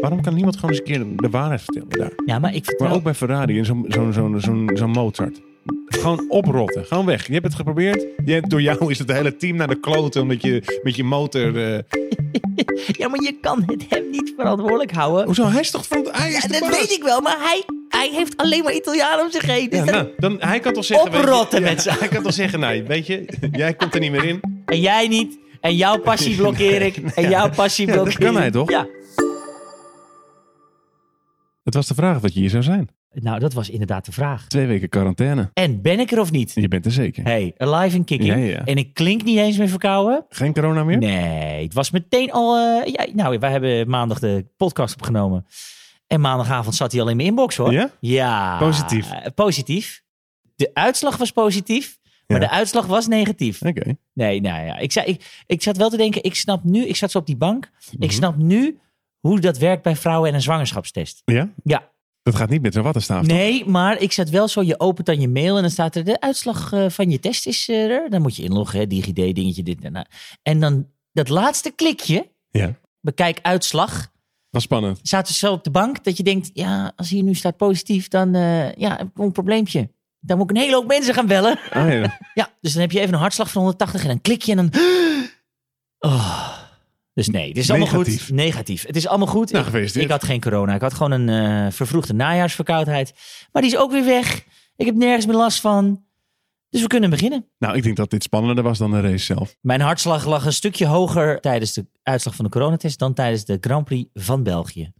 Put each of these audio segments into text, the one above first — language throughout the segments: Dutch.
Waarom kan niemand gewoon eens een keer de waarheid vertellen daar? Ja, maar ik Maar vertrouw... ook bij Ferrari en zo'n zo'n zo'n zo'n zo'n Mozart. Gewoon oprotten. Gewoon weg. Je hebt het geprobeerd. Je, door jou is het hele team naar de kloten omdat je met je motor... eh, Ja, maar je kan het hem niet verantwoordelijk houden. Hoezo? Hij is toch van... Hij is Ja, de dat baas? weet ik wel, maar hij, hij heeft alleen maar Italianen om zich heen. Dus Ja, dat- nou, dan, hij kan toch zeggen... Oprotten weet je- met z'n- Hij kan toch zeggen, nou, weet je, jij komt er niet meer in. En jij niet. En jouw passie blokkeer ik. En jouw passie Ja, dat blokkeer ik. kan hij toch? Ja. Het was de vraag wat je hier zou zijn. Nou, dat was inderdaad de vraag. Twee weken quarantaine. En ben ik er of niet? Je bent er zeker. Hey, alive and kicking. Ja, ja. En ik klink niet eens meer verkouden. Geen corona meer? Nee, het was meteen al... eh, ja, nou, wij hebben maandag de podcast opgenomen. En maandagavond zat hij al in mijn inbox, hoor. Ja? Ja. Positief. Eh, Positief. De uitslag was positief, maar Ja. de uitslag was negatief. Oké. Nee, nou ja. Ik, zei, ik, ik zat wel te denken, ik snap nu... Ik zat zo op die bank. Ik Mhm. snap nu hoe dat werkt bij vrouwen en een zwangerschapstest. Ja? Ja. Dat gaat niet met zo'n wattenstaaf. Nee, maar ik zat wel zo, je opent dan je mail en dan staat er de uitslag eh, van je test is eh, er. Dan moet je inloggen, hè, DigiD, dingetje, dit en dat. En dan dat laatste klikje, Ja. bekijk uitslag, Was spannend. zaten ze zo op de bank dat je denkt, ja, als hier nu staat positief, dan eh, ja, heb ik een probleempje. Dan moet ik een hele hoop mensen gaan bellen. Ah, ja. Ja, dus dan heb je even een hartslag van 180 en dan klik je en dan... Oh. Dus nee, het is allemaal Negatief. goed. Negatief. Het is allemaal goed. Nou, Ik- gefeliciteerd. ik had geen corona. Ik had gewoon een eh, vervroegde najaarsverkoudheid. Maar die is ook weer weg. Ik heb nergens meer last van. Dus we kunnen beginnen. Nou, ik denk dat dit spannender was dan de race zelf. Mijn hartslag lag een stukje hoger tijdens de uitslag van de coronatest dan tijdens de Grand Prix van België.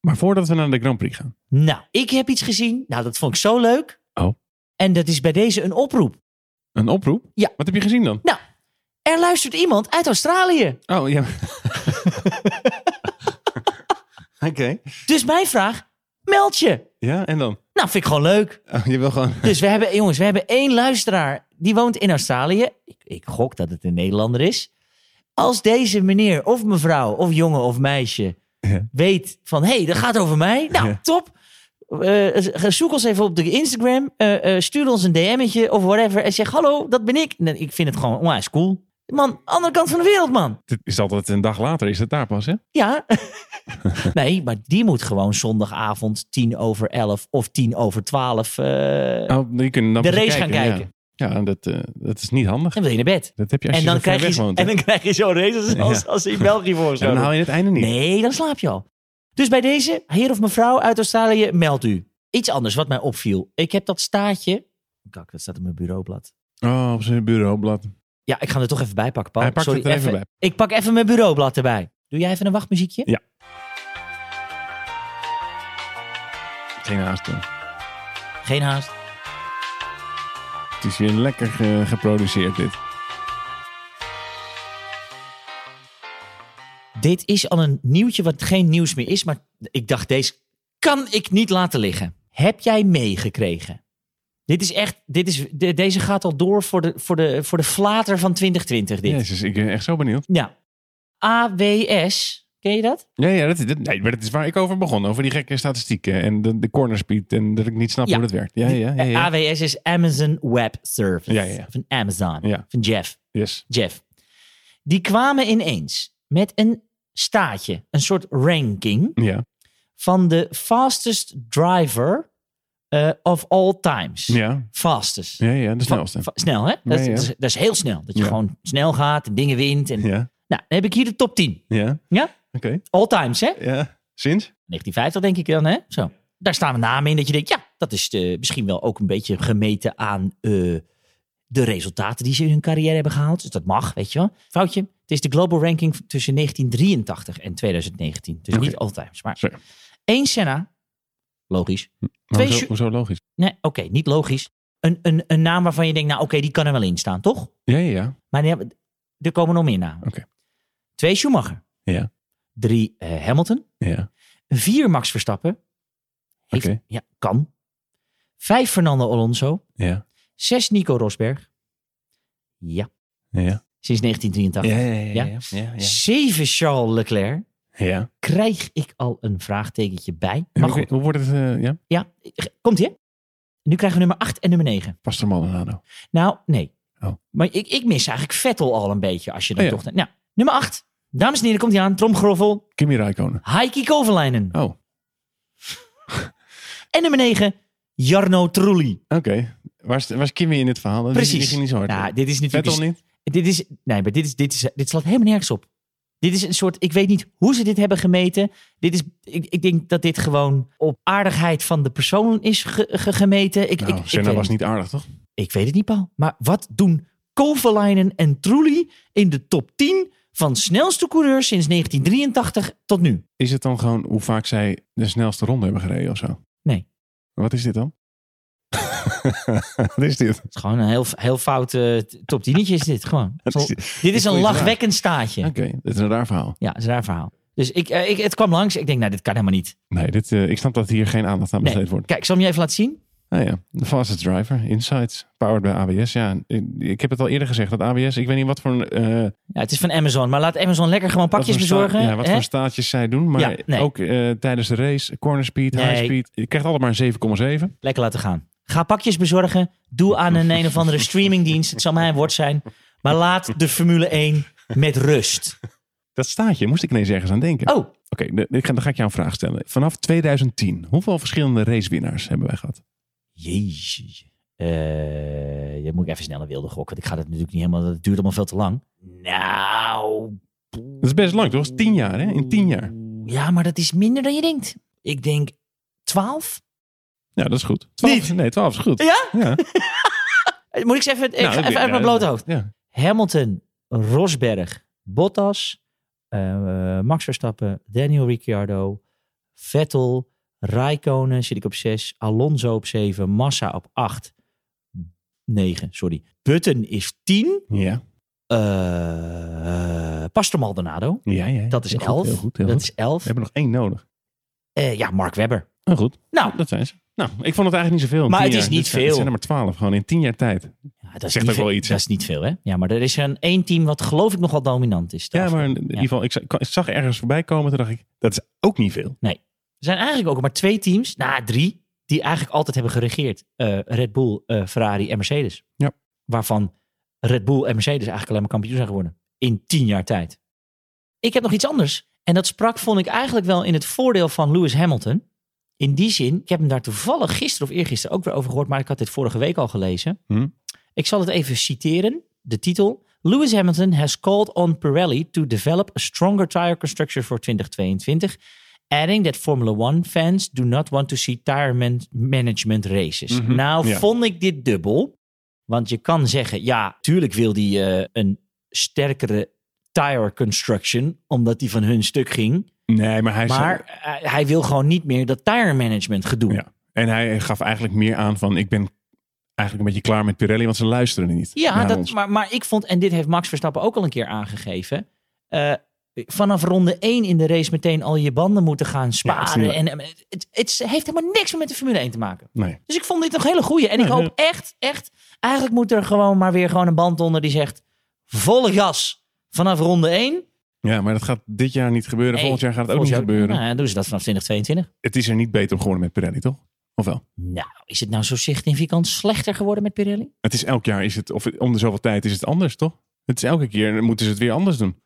Maar voordat we naar de Grand Prix gaan. Nou, ik heb iets gezien. Nou, dat vond ik zo leuk. Oh. En dat is bij deze een oproep. Een oproep? Ja. Wat heb je gezien dan? Er luistert iemand uit Australië. Oh, ja. Oké. Dus mijn vraag, meld je. Ja, en dan? Nou, vind ik gewoon leuk. Oh, je wil gewoon... Dus we hebben, jongens, we hebben één luisteraar. Die woont in Australië. Ik, ik gok dat het een Nederlander is. Als deze meneer of mevrouw of jongen of meisje Ja. weet van... hé, hey, dat gaat over mij. Nou, Ja. top. Eh, ga- zoek ons even op de Instagram. Eh, eh, stuur ons een DM'tje of whatever. En zeg, hallo, dat ben ik. Nou, ik vind het gewoon onwijs cool. Man, andere kant van de wereld, man. Het is altijd een dag later, is het daar pas, hè? Ja. nee, maar die moet gewoon zondagavond tien over elf of tien over twaalf... eh, Oh, je kunt dan De pas race gaan ja. kijken. Ja, dat, eh, dat is niet handig. dan wil je naar bed. Dat heb je als En je dan, zo ver krijg je, weg woont. en hè? dan kraag je zo'n race als, als, als ze in België voor Ja, dan haal je het einde niet. Nee, dan slaap je al. Dus bij deze, heer of mevrouw uit Australië, meld u. Iets anders wat mij opviel. Ik heb dat staartje. Oh, Kak, dat staat op mijn bureaublad. Oh, op zijn bureaublad. Ja, ik ga hem er toch even bij pakken, Paul. Hij pakt Sorry, het er even bij. Ik pak even mijn bureaublad erbij. Doe jij even een wachtmuziekje? Ja. Geen haast. doen. Geen haast. Het is weer lekker ge- geproduceerd, dit. Dit is al een nieuwtje wat geen nieuws meer is, maar ik dacht, deze kan ik niet laten liggen. Heb jij meegekregen? Dit is echt, dit is, de- deze gaat al door voor de, voor de, voor de flater van 2020. Dit. Nou, Jezus, ik ben echt zo benieuwd. Ja. AWS, ken je dat? Ja, ja dat, is- dat, nee, maar dat is waar ik over begon. Over die gekke statistieken en de, de cornerspeed. En dat ik niet snap Ja. eh, hoe dat werkt. Ja, ja, ja. ja. AWS is Amazon Web Service. Ja, ja, ja. Van Amazon. Ja. Van Jeff. Yes. Jeff. Die kwamen ineens met een staatje, een soort ranking Ja. van de fastest driver eh, of all times. Ja. Fastest. Ja, ja, de Van- snelste. van- snel, hè? Dat, is- Ja, ja. Dat, is, dat is heel snel. Dat je Ja. gewoon snel gaat en dingen wint. En... Ja. Nou, dan heb ik hier de top 10. Ja. Ja? Oké. All times, hè? Ja. Sinds? 1950 denk ik dan, hè? Zo. Daar staan we namen in dat je denkt, ja, dat is eh, misschien wel ook een beetje gemeten aan eh, de resultaten die ze in hun carrière hebben gehaald. Dus dat mag, weet je wel. Foutje, het is de global ranking tussen 1983 en 2019. Dus Oké. niet all times, maar Sorry. één Senna, logisch. Maar Twee hoezo, ju- hoezo logisch? Nee, oké, niet logisch. Een, een, een naam waarvan je denkt, nou oké, die kan er wel in staan, toch? Ja, ja, ja. Maar nee, er komen nog meer namen. Oké. Twee Schumacher. Ja. Drie eh, Hamilton. Ja. Vier Max Verstappen. Heeft, Oké. Ja, kan. Vijf Fernando Alonso. Ja. Zes Nico Rosberg. Ja, Ja. sinds 1983. Ja, ja, ja. Ja. ja. Zeven Charles Leclerc. ja. Krijg ik al een vraagtekentje bij? En Maar hoe- goed, Hoe wordt het? eh, ja. ja, komt ie. hè? Nu krijgen we nummer 8 en nummer 9. Pastor Maldonado. Nou, nee. Oh. Maar ik, ik mis eigenlijk Vettel al een beetje als je dan Oh ja. toch... Nou, nummer 8. Dames en heren, komt hij aan. Tromgroffel. Kimi Räikkönen. Heikki Kovalainen. Oh, oké. En nummer 9. Jarno Trulli. Waar, is- waar is Kimi in dit verhaal? Dat Precies. Is, is niet zo hard. Nou, dit is Vet natuurlijk... of niet? Dit is, nee, maar dit, is, dit, is, dit slaat helemaal nergens op. Dit is een soort, ik weet niet hoe ze dit hebben gemeten. Dit is, ik, ik denk dat dit gewoon op aardigheid van de persoon is ge- ge- gemeten. Ik, Nou, ik, ik, Senna weet, was het- niet aardig, toch? ik weet het niet, Paul. Maar wat doen Kovalainen en Trulli in de top 10 van snelste coureurs sinds 1983 tot nu? Is het dan gewoon hoe vaak zij de snelste ronde hebben gereden of zo? Nee. Wat is dit dan? Wat is dit? Het is gewoon een heel, heel fout eh, top 10 is dit gewoon. Wat is dit? Dit is een goeie vraag. lachwekkend staatje. Oké, dit is een raar verhaal. Ja, dat is een raar verhaal. Dus ik, eh, ik, het kwam langs. Ik denk, nou, dit kan helemaal niet. Nee, dit, eh, ik snap dat hier geen aandacht aan Nee. besteed wordt. Kijk, ik zal hem je even laten zien. Ah ja, de fastest driver, Insights, powered by ABS. Ja, ik, ik heb het al eerder gezegd, dat ABS, ik weet niet wat voor een... eh, Ja, het is van Amazon, maar laat Amazon lekker gewoon wat pakjes voor sta- bezorgen. Ja, wat hè? voor staatjes zij doen. Maar Ja, nee. ook eh, tijdens de race, corner speed, high Nee. speed. Je krijgt altijd maar een 7,7. Lekker laten gaan. Ga pakjes bezorgen. Doe aan een een of andere streamingdienst. Het zal mij een woord zijn. Maar laat de Formule 1 met rust. Dat staatje moest ik ineens ergens aan denken. Oh, Oké, de- ik ga- dan ga ik jou een vraag stellen. Vanaf 2010, hoeveel verschillende racewinnaars hebben wij gehad? jeetje. Eh, dan moet ik even snel een wilde gok. Want ik ga dat natuurlijk niet helemaal... Dat duurt allemaal veel te lang. Nou... Dat is best lang, toch? Dat is 10 jaar, hè? In 10 jaar. Ja, maar dat is minder dan je denkt. Ik denk 12. Ja, dat is goed. 12, Niet. Nee, 12 is goed. Ja? Ja. Eh, Moet ik eens even... Ik Nou, ga dat- even uit ja, mijn blote hoofd. Ja. Hamilton, Rosberg, Bottas, eh, Max Verstappen, Daniel Ricciardo, Vettel, Raikkonen zit ik op 6, Alonso op 7, Massa op 8, 9, sorry. Button is 10, Ja. Eh Pastor Maldonado, Ja, ja. dat is Heel goed, 11. Heel goed, heel dat goed. is 11. We hebben nog één nodig. Eh, ja, Mark Webber. Nou goed, Nou, dat zijn ze. Nou, ik vond het eigenlijk niet zoveel. in Maar 10 het is jaar. niet Dit zijn- dit veel. zijn er maar 12, gewoon in 10 jaar tijd. ja, dat is Zegt niet ook wel veel- iets, hè? Dat is niet veel, hè? Ja, maar er is een één team wat geloof ik nogal dominant is. Ja, Daar- maar in ieder geval, ik zag, ik zag ergens voorbij komen. Toen dacht ik, dat is ook niet veel. Er zijn eigenlijk ook maar twee teams, nou drie, die eigenlijk altijd hebben geregeerd. Eh, Red Bull, eh, Ferrari en Mercedes. Ja. Waarvan Red Bull en Mercedes eigenlijk alleen maar kampioen zijn geworden. In tien jaar tijd. Ik heb nog iets anders. En dat sprak, vond ik eigenlijk wel in het voordeel van Lewis Hamilton. In die zin, ik heb hem daar toevallig gisteren of eergisteren ook weer over gehoord. Maar ik had dit vorige week al gelezen. Hm. Ik zal het even citeren, de titel. Lewis Hamilton has called on Pirelli to develop a stronger tire construction for 2022 adding that Formula One fans do not want to see tire man- management races. Mhm, Nou, ja. vond ik dit dubbel. Want je kan zeggen, ja, tuurlijk wil die eh, een sterkere tire construction, omdat die van hun stuk ging. Nee, maar hij, is- Maar eh, hij wil gewoon niet meer dat tire management gedoe. Ja. en hij gaf eigenlijk meer aan van, ik ben eigenlijk een beetje klaar met Pirelli, want ze luisteren niet. Ja, naar dat, ons. maar, maar ik vond, en dit heeft Max Verstappen ook al een keer aangegeven. eh, vanaf ronde 1 in de race meteen al je banden moeten gaan dat is sparen. niet en, en het, het, heeft helemaal niks meer met de Formule 1 te maken. Nee. Dus ik vond dit nog hele goeie. En ik Nee, hoop echt, echt, eigenlijk moet er gewoon maar weer gewoon een band onder die zegt: volle gas vanaf ronde 1. Ja, maar dat gaat dit jaar niet gebeuren. Nee, Volgend jaar gaat het ook niet gebeuren. Nou, ja, doen ze dat vanaf 2022. Het is er niet beter op geworden met Pirelli, toch? Of wel? Nou, is het nou zo significant slechter geworden met Pirelli? Het is elk jaar, is het, of om de zoveel tijd is het anders, toch? Het is elke keer, moeten ze het weer anders doen.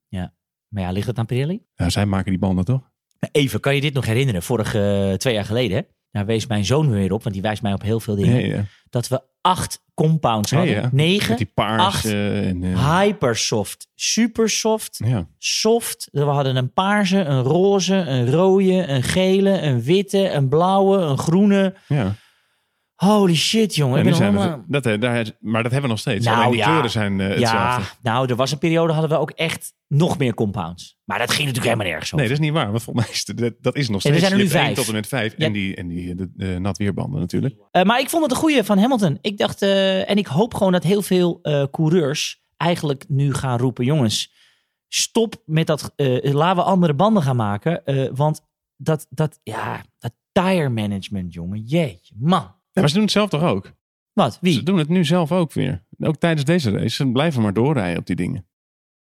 Maar ja, ligt het aan Pirelli? Nou, zij maken die banden, toch? Even, kan je dit nog herinneren? Vorige eh, twee jaar geleden, hè? daar wees mijn zoon weer op, want die wijst mij op heel veel dingen. Ja, ja. Dat we acht compounds Ja, hadden. ja. Met Negen, die paars. acht, eh, en, eh, hypersoft, supersoft, ja. soft. We hadden een paarse, een roze, een rode, een gele, een witte, een blauwe, een groene. ja. Holy shit, jongen. En Ik nu ben zijn helemaal- het, dat, eh, daar, maar dat hebben we nog steeds. Nou, Alleen die ja. kleuren zijn eh, ja, hetzelfde. nou, er was een periode hadden we ook echt nog meer compounds. Maar dat ging natuurlijk helemaal nergens over. Nee, dat is niet waar. Want volgens mij is het- dat, dat is nog En steeds. er zijn er Je nu hebt één vijf. tot en met vijf. Ja. En die, en die eh, de, eh, natweerbanden natuurlijk. Eh, maar ik vond het een goede van Hamilton. Ik dacht, eh, en ik hoop gewoon dat heel veel eh, coureurs eigenlijk nu gaan roepen: jongens, stop met dat. eh, laten we andere banden gaan maken. eh, want dat, dat, ja, dat tire management, jongen. Jeetje, man. Ja, maar ze doen het zelf toch ook? Wat? Ze Wie? doen het nu zelf ook weer. Ook tijdens deze race. Ze blijven maar doorrijden op die dingen.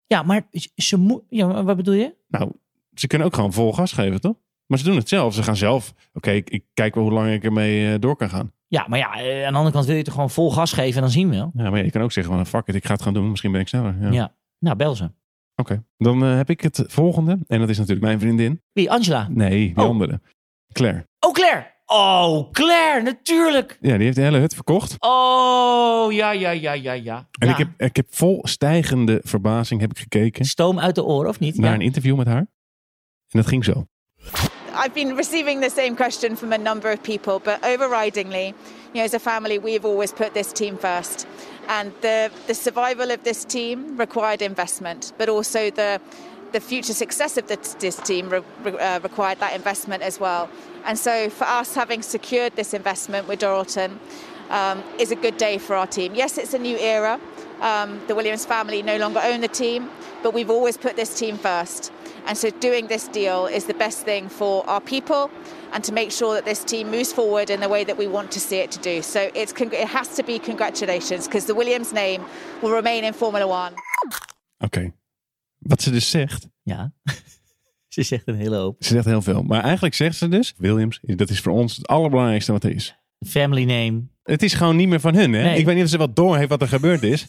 Ja, maar ze- ze moet. Ja, maar wat bedoel je? Nou, ze kunnen ook gewoon vol gas geven, toch? Maar ze doen het zelf. Ze gaan zelf. Oké, ik, ik kijk wel hoe lang ik ermee eh, door kan gaan. Ja, maar ja, eh, aan de andere kant wil je toch gewoon vol gas geven en dan zien we wel. Ja, maar ja, je kan ook zeggen van fuck it, ik ga het gaan doen. Misschien ben ik sneller. Ja. Ja. Nou, bel ze. Dan eh, heb ik het volgende. En dat is natuurlijk mijn vriendin. Wie? Angela? Nee, die Oh. andere. Claire. Oh, Claire! Oh, Claire, natuurlijk! Ja, die heeft de hele hut verkocht. Oh, ja, ja, ja, ja, ja. En Ja. ik, heb, ik heb vol stijgende verbazing heb ik gekeken Stoom uit de oren, of niet? naar Ja. een interview met haar. En dat ging zo. I've been receiving the same question from a number of people, but overridingly, you know, as a family, we've always put this team first. And the, the survival of this team required investment, but also the, the future success of the, this team re, re- uh, required that investment as well. And so for us, having secured this investment with Doralton um, is a good day for our team. Yes, it's a new era. Um, the Williams family no longer own the team, but we've always put this team first. And so doing this deal is the best thing for our people and to make sure that this team moves forward in the way that we want to see it to do. So it's, con- it has to be congratulations because the Williams name will remain in Formula One. Oké. Wat ze dus zegt, Ja. Ze zegt een hele hoop. ze zegt heel veel. Maar eigenlijk zegt ze dus, Williams, dat is voor ons het allerbelangrijkste wat er is. Family name. Het is gewoon niet meer van hun, hè? Nee. Ik weet niet of ze wel door heeft wat er gebeurd is.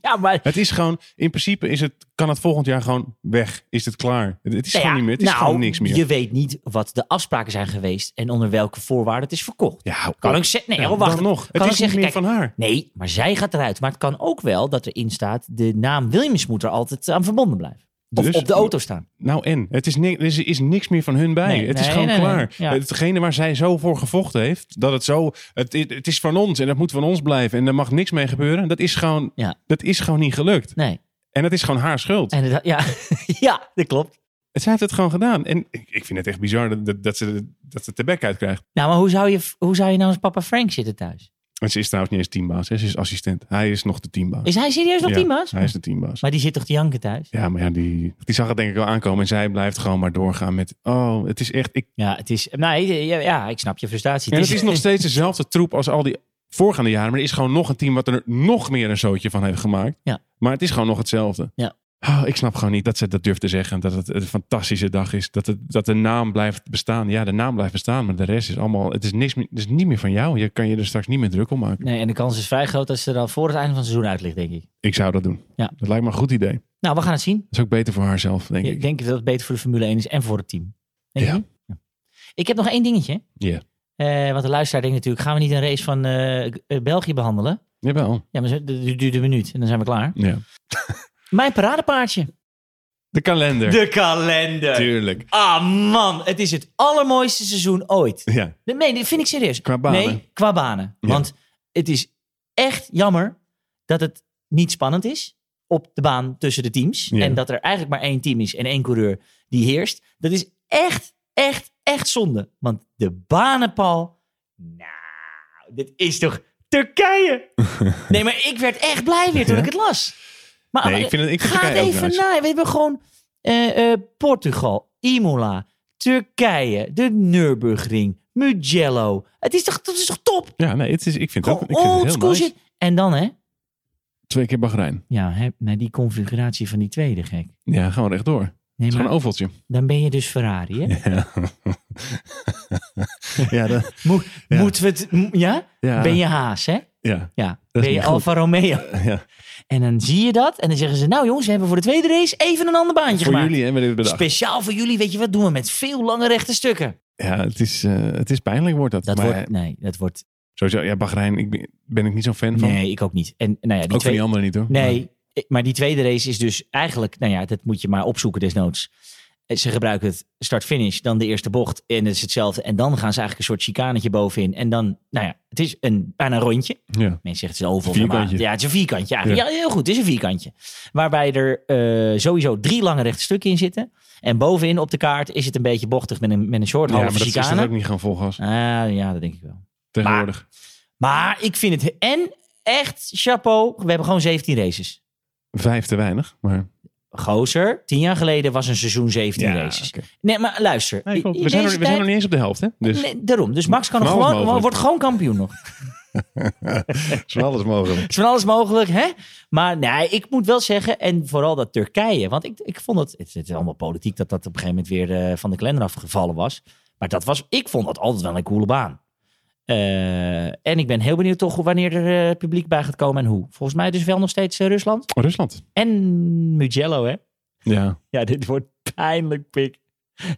Ja, maar... Het is gewoon, in principe is het, kan het volgend jaar gewoon weg. Is het klaar? Het, het is Nou ja, gewoon niet meer. Het is nou, gewoon niks meer. Je weet niet wat de afspraken zijn geweest en onder welke voorwaarden het is verkocht. Ja, hou Kan op. ik zeggen. Nee, Ja, hoor, wacht. dan nog. Het Kan ik is niet zeggen, meer kijk, van haar. Nee, maar zij gaat eruit. Maar het kan ook wel dat erin staat: de naam Williams moet er altijd aan verbonden blijven. Of Dus- op de auto staan. Nou en, het is, ni- er is- is niks meer van hun bij. Nee, het is nee, gewoon nee, nee. klaar. Ja. Hetgene waar zij zo voor gevochten heeft, dat het zo, het, i- het is van ons en dat moet van ons blijven en daar mag niks mee gebeuren. Dat is gewoon, Ja. dat is gewoon niet gelukt. Nee. En dat is gewoon haar schuld. En het- ja, ja, dat klopt. Zij heeft het gewoon gedaan. En ik, ik vind het echt bizar dat, dat, dat ze, dat ze het de bek uitkrijgt. Nou, maar hoe zou, je, hoe zou je nou als papa Frank zitten thuis? En ze is trouwens niet eens teambaas, hè. ze is assistent. Hij is nog de teambaas. Is hij serieus nog Ja, teambaas? Hij is de teambaas. Maar die zit toch te janken thuis? Ja, maar ja, die, die zag het denk ik wel aankomen. En zij blijft gewoon maar doorgaan met... Oh, het is echt... Ik, Ja, het is. Nee, ja, ja, ik snap je frustratie. en het is nog steeds dezelfde troep als al die voorgaande jaren. Maar er is gewoon nog een team wat er nog meer een zootje van heeft gemaakt. Ja. Maar het is gewoon nog hetzelfde. Ja. Oh, ik snap gewoon niet dat ze dat durft te zeggen. Dat het een fantastische dag is. Dat, het, dat de naam blijft bestaan. Ja, de naam blijft bestaan. Maar de rest is allemaal... Het is, niks, meer- het is niet meer van jou. Je kan je er straks niet meer druk om maken. Nee, en de kans is vrij groot dat ze er al voor het einde van het seizoen uit ligt, denk ik. Ik zou dat doen. Ja. Dat lijkt me een goed idee. Dat Nou, we gaan het zien. is ook beter voor haarzelf, denk Ik ik. denk dat het beter voor de Formule 1 is en voor het team. Denk Ja. je? Ja. Ik heb nog één dingetje. Ja. Eh, want de luisteraar denkt natuurlijk, gaan we niet een race van eh, eh, België behandelen? Jawel. Ja, maar zo- dat duurt een minuut en dan zijn we klaar. Ja. Mijn paradepaardje. De kalender. De kalender. Tuurlijk. Ah man, het is het allermooiste seizoen ooit. Ja. Nee, dat vind ik serieus. Qua banen. Nee, qua banen. Ja. Want het is echt jammer dat het niet spannend is op de baan tussen de teams. Ja. En dat er eigenlijk maar één team is en één coureur die heerst. Dat is echt, echt, echt zonde. Want de banenpal, nou, dit is toch Turkije? nee, maar ik werd echt blij weer toen Ja? ik het las. Maar Nee, ik vind het- ik vind ga Turkije ook even nice. na. We hebben gewoon eh, eh, Portugal, Imola, Turkije, de Nürburgring, Mugello. Het is toch, dat is toch top? Ja, nee, het is, ik vind het ook Gewoon ik vind het old heel school nice. shit. En dan hè? Twee keer Bahrein. Ja, hè, naar die configuratie van die tweede gek. Ja, gewoon rechtdoor. Het Nee, is gewoon maar een ovaltje. dan ben je dus Ferrari, hè? Ja, ja, dat, Mo- Ja. Moeten we het... m- Ja? ja, Ben je Haas, hè? ja, Ja. is Ben je niet goed. Alfa Romeo. ja. En dan zie je dat. En dan zeggen ze, nou jongens, we hebben voor de tweede race even een ander baantje Voor gemaakt. jullie hebben we dit bedacht. Speciaal voor jullie, weet je wat, doen we met veel lange rechte stukken. Ja, het is, eh, het is pijnlijk wordt dat. Dat maar wordt, nee, dat wordt, sowieso, ja, Bahrein ik ben, ben ik niet zo'n fan van. nee, ik ook niet. En nou ja, die ook van twee, die anderen niet hoor. Nee, maar die tweede race is dus eigenlijk, nou ja, dat moet je maar opzoeken desnoods. Eh, Ze gebruiken het start-finish, dan de eerste bocht en het is hetzelfde. En dan gaan ze eigenlijk een soort chicanetje bovenin. En dan, nou ja, het is een, bijna een rondje. Ja. Mensen zeggen het is een oval. Vierkantje. maar- Ja, het is een vierkantje eigenlijk. Ja, heel goed, het is een vierkantje. Waarbij er eh, sowieso drie lange rechte stukken in zitten. En bovenin op de kaart is het een beetje bochtig met een, met een soort Ja, maar halve dat is dat chicane. ook niet gaan vol gas. Ah, ja, dat denk ik wel. Tegenwoordig. Ah. Maar ik vind het, en echt chapeau, we hebben gewoon 17 races. Vijf te weinig, maar... Gozer, tien jaar geleden was een seizoen 17 races. oké. Nee, maar luister. Nee, klopt. in we, zijn nog, deze we zijn nog tijd- niet eens op de helft, hè? Dus Nee, daarom. Dus Max kan Van alles gewoon, mogelijk. wordt gewoon kampioen nog. is wel alles mogelijk. Het is van alles mogelijk, hè? Maar nee, ik moet wel zeggen, en vooral dat Turkije. Want ik, ik vond het, het is allemaal politiek dat dat op een gegeven moment weer eh, van de kalender afgevallen was. Maar dat was, ik vond dat altijd wel een coole baan. Eh, en ik ben heel benieuwd toch wanneer er eh, publiek bij gaat komen en hoe. Volgens mij dus wel nog steeds eh, Rusland. Oh, Rusland. En Mugello, hè? Ja. Ja, dit wordt pijnlijk, pik.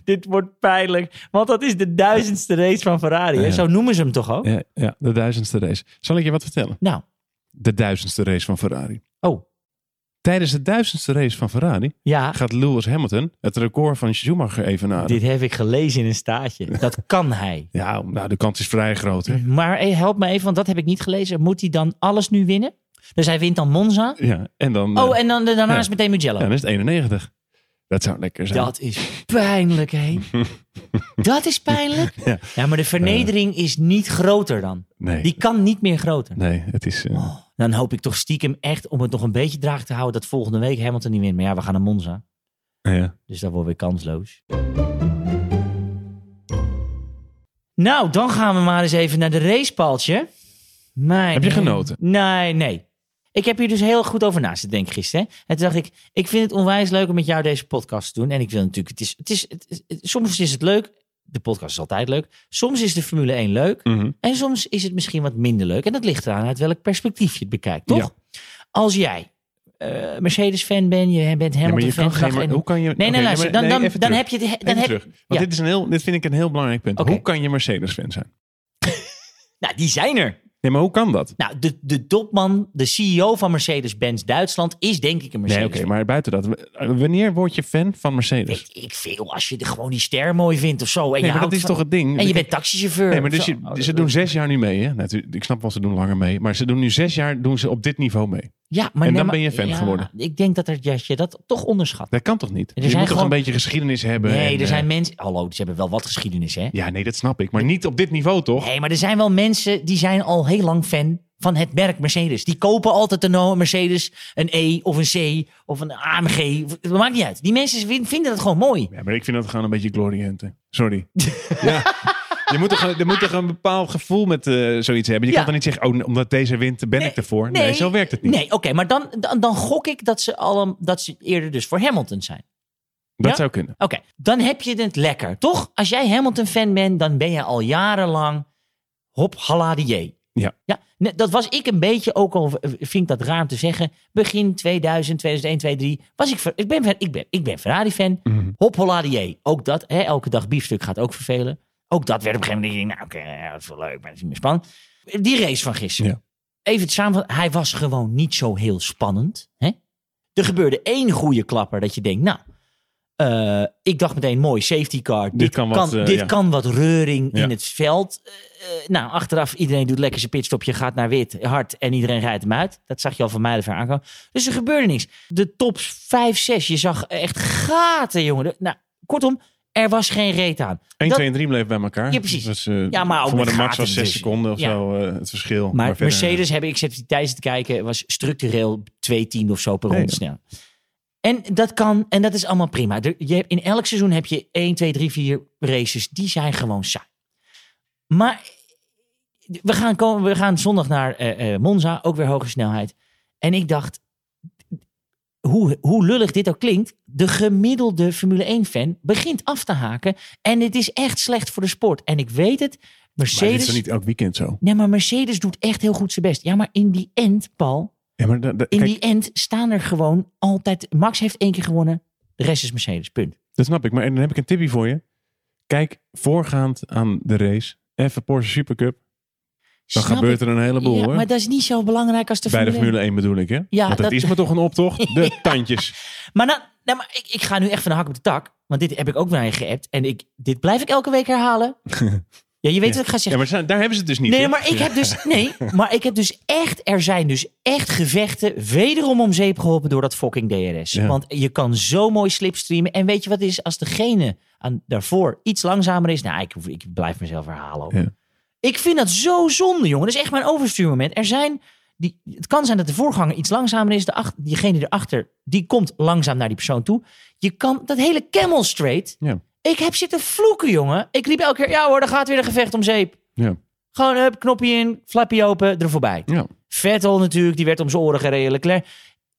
Dit wordt pijnlijk. Want dat is de duizendste race van Ferrari. hè? Ja. Zo noemen ze hem toch ook? ja. Ja, de duizendste race. Zal ik je wat vertellen? Nou, De duizendste race van Ferrari. oh, Tijdens de duizendste race van Ferrari ja. gaat Lewis Hamilton het record van Schumacher evenaren. Dit heb ik gelezen in een staartje. Dat kan hij. Ja, nou, de kans is vrij groot. Hè? Maar hey, help me even, want dat heb ik niet gelezen. Moet hij dan alles nu winnen? Dus hij wint dan Monza. Ja, en dan, eh, Oh, en dan, daarna Ja. is meteen Mugello. ja, dan is het 91. Dat zou lekker zijn. Dat is pijnlijk, hé. dat is pijnlijk. Ja. Ja. maar de vernedering is niet groter dan. nee, Die kan niet meer groter. nee, het is... eh, Oh, dan hoop ik toch stiekem echt, om het nog een beetje draag te houden, dat volgende week Hamilton niet wint. Maar ja, we gaan naar Monza. ja. Dus dat wordt weer kansloos. Nou, dan gaan we maar eens even naar de racepaaltje. Mijn Heb je hemel. genoten? Nee, nee. Ik heb hier dus heel goed over na zitten denken gisteren. hè. En toen dacht ik, ik vind het onwijs leuk om met jou deze podcast te doen. En ik wil natuurlijk, het is, het is, het is- het- soms is het leuk. De podcast is altijd leuk. Soms is de Formule 1 leuk. Mhm. En soms is het misschien wat minder leuk. En dat ligt eraan uit welk perspectief je het bekijkt, toch? Als jij eh, Mercedes-fan bent, je bent Ja, maar Hamilton-fan. je kan geen... graag maar en- hoe kan je... Nee, nee, luister. Dan, dan, dan heb je... je... het- Dan Even heb, terug. Want ja. dit, is een heel, dit vind ik een heel belangrijk punt. Oké. Hoe kan je Mercedes-fan zijn? Nou, die zijn er. Nee, maar hoe kan dat? Nou, de, de topman, de CEO van Mercedes-Benz Duitsland is denk ik een Nee, Mercedes. oké, maar buiten dat. w- Wanneer word je fan van Mercedes? Weet ik veel, als je de, gewoon die ster mooi vindt of zo. En Nee, je maar dat houdt is van- toch het ding? En je bent taxichauffeur. Nee, maar of dus zo. Oh, je- ze doen zes jaar nu mee. Hè? Natuurlijk, ik snap wel, ze doen langer mee. Maar ze doen nu zes jaar doen ze op dit niveau mee. ja, maar dan nee, maar- ben je fan ja, geworden. Ik denk dat, er, ja, je dat toch onderschat. Dat kan toch niet? je zijn moet toch gewoon- een beetje geschiedenis hebben? Nee, en, er eh, zijn mensen... Hallo, ze hebben wel wat geschiedenis, hè? Ja, nee, dat snap ik. Maar niet op dit niveau, toch? Nee, maar er zijn wel mensen die zijn al heel lang fan van het merk Mercedes. Die kopen altijd een O- Mercedes, een E of een C of een AMG. Het maakt niet uit. Die mensen vin- vinden dat gewoon mooi. Ja, maar ik vind dat gewoon een beetje gloriënte. Sorry. ja. Je moet, toch, je moet toch een bepaald gevoel met eh, zoiets hebben. Je Ja. kan dan niet zeggen, oh, omdat deze wint, ben ik ervoor. Nee, zo werkt het niet. Nee, oké, maar dan, dan, dan gok ik dat ze, allemaal dat ze eerder dus voor Hamilton zijn. Dat Ja? zou kunnen. Oké, dan heb je het lekker, toch? Als jij Hamilton-fan bent, dan ben je al jarenlang hop haladier. Ja. ja. nee, Dat was ik een beetje, ook al v- vind ik dat raar om te zeggen, begin 2000, 2001, 2003, was ik, ver- ik ben, ver- ik ben, ik ben Ferrari-fan. Mhm. Hop holladier. E. Ook dat, hè, elke dag biefstuk gaat ook vervelen. Ook dat werd op een gegeven moment, ik denk, nou oké, ja, dat is wel leuk, maar dat is niet meer spannend. Die race van gisteren. Ja. Even het samenvatten, hij was gewoon niet zo heel spannend. Hè? Er gebeurde één goede klapper dat je denkt, nou, eh, ik dacht meteen, mooi, safety car. Dit, kan wat, eh, dit ja. kan wat reuring Ja. in het veld. Eh, eh, nou, achteraf, iedereen doet lekker zijn pitstopje, gaat naar wit, hard en iedereen rijdt hem uit. Dat zag je al van mij ver aankomen. Dus er gebeurde niks. De top 5, 6, je zag echt gaten, jongen. De- Nou, kortom, er was geen reet aan. 1, Dat- 2 en 3 bleven bij elkaar. Ja, precies. Dus, eh, Ja, maar ook voor met de max gaten was 6 ertussen. seconden of Ja. zo eh, het verschil. Maar, verder- eh, Mercedes, heb ik, ik heb die tijdens het kijken, was structureel twee tiende of zo per Nee, ronde snel. En dat kan, en dat is allemaal prima. Er- je, hebt- in elk seizoen heb je 1, 2, 3, 4 races, die zijn gewoon saai. Maar we gaan, komen, we gaan zondag naar eh, eh, Monza, ook weer hoge snelheid. En ik dacht, hoe, hoe lullig dit ook klinkt, de gemiddelde Formule 1-fan begint af te haken. En het is echt slecht voor de sport. En ik weet het, Maar dit is Mercedes... toch niet elk weekend zo. Nee, maar Mercedes doet echt heel goed zijn best. Ja, maar in die end, Paul, Ja, maar da- da- in kijk, die end staan er gewoon altijd... Max heeft één keer gewonnen, de rest is Mercedes, punt. Dat snap ik. Maar en dan heb ik een tipje voor je. Kijk voorgaand aan de race. Even Porsche Supercup. Dan Snap gebeurt ik. er een heleboel Ja, hoor. maar dat is niet zo belangrijk als de Bij de Formule 1. Formule 1 bedoel ik, hè? Ja, Want het dat- is maar toch een optocht. De tandjes. Maar, nou, nou, maar ik, ik ga nu echt van de hak op de tak. Want dit heb ik ook naar je geappt. En ik, dit blijf ik elke week herhalen. ja, je weet wat ik ga Ja, zeggen. maar zijn- daar hebben ze het dus niet. Nee, hè? maar ik Ja. heb dus. Nee, maar ik heb dus echt. Er zijn dus echt gevechten. Wederom om zeep geholpen door dat fucking DRS. Ja. Want je kan zo mooi slipstreamen. En weet je wat het is? Als degene aan, daarvoor iets langzamer is. Nou, ik, hoef- ik blijf mezelf herhalen. hoor. Ja. Ik vind dat zo zonde, jongen. Dat is echt mijn overstuurmoment. Er zijn. Die, het kan zijn dat de voorganger iets langzamer is. De ach, diegene erachter, die komt langzaam naar die persoon toe. Je kan dat hele camel straight. Ja. Ik heb zitten vloeken, jongen. Ik liep elke keer, ja hoor, er gaat weer een gevecht om zeep. Ja. Gewoon hup, knopje in, flappie open, er voorbij. Ja. Vettel natuurlijk, die werd om zijn oren gereden. Leclerc.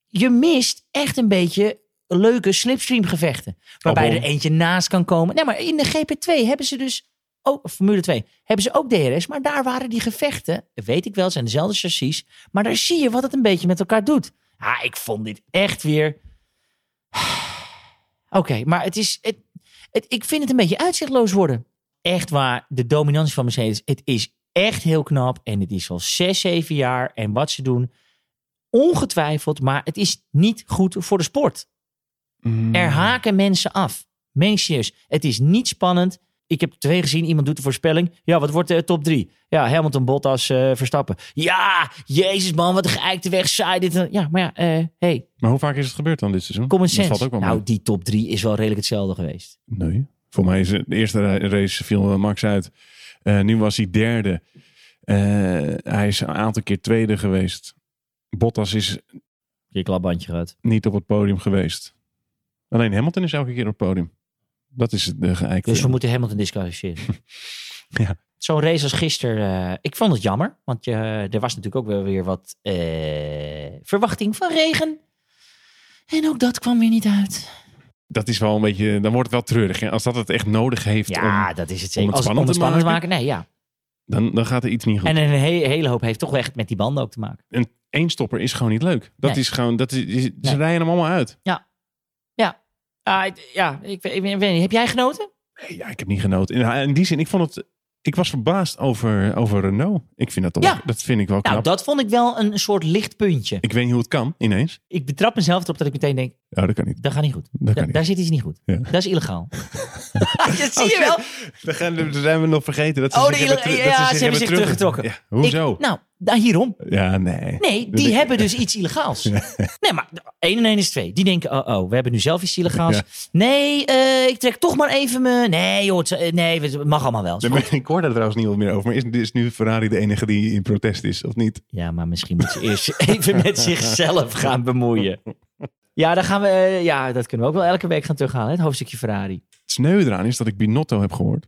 Je mist echt een beetje leuke slipstream gevechten. Waarbij Albon. er eentje naast kan komen. Nee, maar in de GP2 hebben ze dus ook, Formule 2, hebben ze ook DRS. Maar daar waren die gevechten, weet ik wel, zijn dezelfde chassis. Maar daar zie je wat het een beetje met elkaar doet. Ah, ik vond dit echt weer... Oké, maar het is... Het, het- ik vind het een beetje uitzichtloos worden. Echt waar, de dominantie van Mercedes. Het is echt heel knap. En het is al 6, 7 jaar. En wat ze doen, ongetwijfeld. Maar het is niet goed voor de sport. Mm. Er haken mensen af. Meen ik serieus. Het is niet spannend. Ik heb twee gezien. Iemand doet de voorspelling. Ja, wat wordt de top drie? Ja, Hamilton, Bottas, eh, Verstappen. Ja, jezus man, wat een geëikte weg. Saai dit. en dat. Ja, maar ja, eh hey, Maar hoe vaak is het gebeurd dan dit seizoen? common sense. Dat valt ook wel nou, mee. die top drie is wel redelijk hetzelfde geweest. Nee. Voor mij is het- de eerste ra- race viel eh, Max uit. Eh, nu was hij derde. Eh, hij is een aantal keer tweede geweest. Bottas is Je klapbandje gehad. niet op het podium geweest. Alleen Hamilton is elke keer op het podium. Dat is de geëikte. Dus we moeten Hamilton disqualificeren. Ja. Zo'n race als gisteren, eh, ik vond het jammer. Want je, eh, er was natuurlijk ook wel weer wat eh, verwachting van regen. En ook dat kwam weer niet uit. Dat is wel een beetje... Dan wordt het wel treurig. Hè? Als dat het echt nodig heeft, Ja, om, dat is het om zeker. het Als spannend om te spannend maken? Nee, ja. dan, dan gaat er iets niet goed. En een he- hele hoop heeft toch wel echt met die banden ook te maken. Een eenstopper is gewoon niet leuk. Dat Nee. is gewoon... Dat is, is- ze Nee. rijden hem allemaal uit. Ah, ik- ja, ik, weet- ik weet niet. Heb jij genoten? Nee, ja, ik heb niet genoten. In, in die zin, ik vond het... Ik was verbaasd over, over Renault. Ik vind dat toch... Ja. Dat vind ik wel knap. Nou, dat vond ik wel een soort lichtpuntje. Ik weet niet hoe het kan, ineens. Ik betrap mezelf erop dat ik meteen denk, Ja, dat kan niet. dat gaat niet goed. Dat Da- kan niet. daar zit iets niet goed. Ja. Dat is illegaal. Oh, dat zie je wel. Dan, gaan, dan zijn we nog vergeten dat ze Oh, zich de hebben, Ile- teru- dat ja, ze zich ze hebben zich teruggetrokken. Ja, hoezo? Ik- nou, nou, hierom. Ja, nee. Nee, Dus die ik- hebben dus iets illegaals. Nee, maar 1 en 1 is 2. Die denken, oh, oh, we hebben nu zelf iets illegaals. Ja. Nee, eh, ik trek toch maar even mijn... Nee, joh, het, eh, nee, het mag allemaal wel. Nee, maar ik hoor daar trouwens niet wat meer over. Maar is, is nu Ferrari de enige die in protest is, of niet? Ja, maar misschien moet ze eerst even met zichzelf gaan bemoeien. Ja, dan gaan we, eh, ja, dat kunnen we ook wel elke week gaan terughalen, hè, het hoofdstukje Ferrari. Het sneu eraan is dat ik Binotto heb gehoord.